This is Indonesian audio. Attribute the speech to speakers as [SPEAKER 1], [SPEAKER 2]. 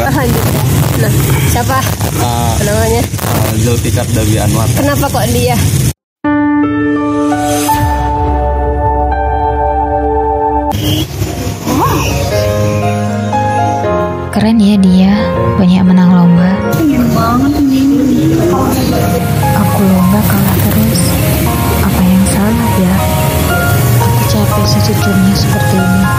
[SPEAKER 1] Ah, hindi. Nah, siapa?
[SPEAKER 2] Uh,
[SPEAKER 1] Apa namanya?
[SPEAKER 2] uh, Zulfikar Dawi Anwar.
[SPEAKER 1] Kenapa kok dia?
[SPEAKER 3] Keren ya dia, banyak menang lomba. Aku lomba kalah terus. Apa yang salah ya? Aku capek sejujurnya seperti ini.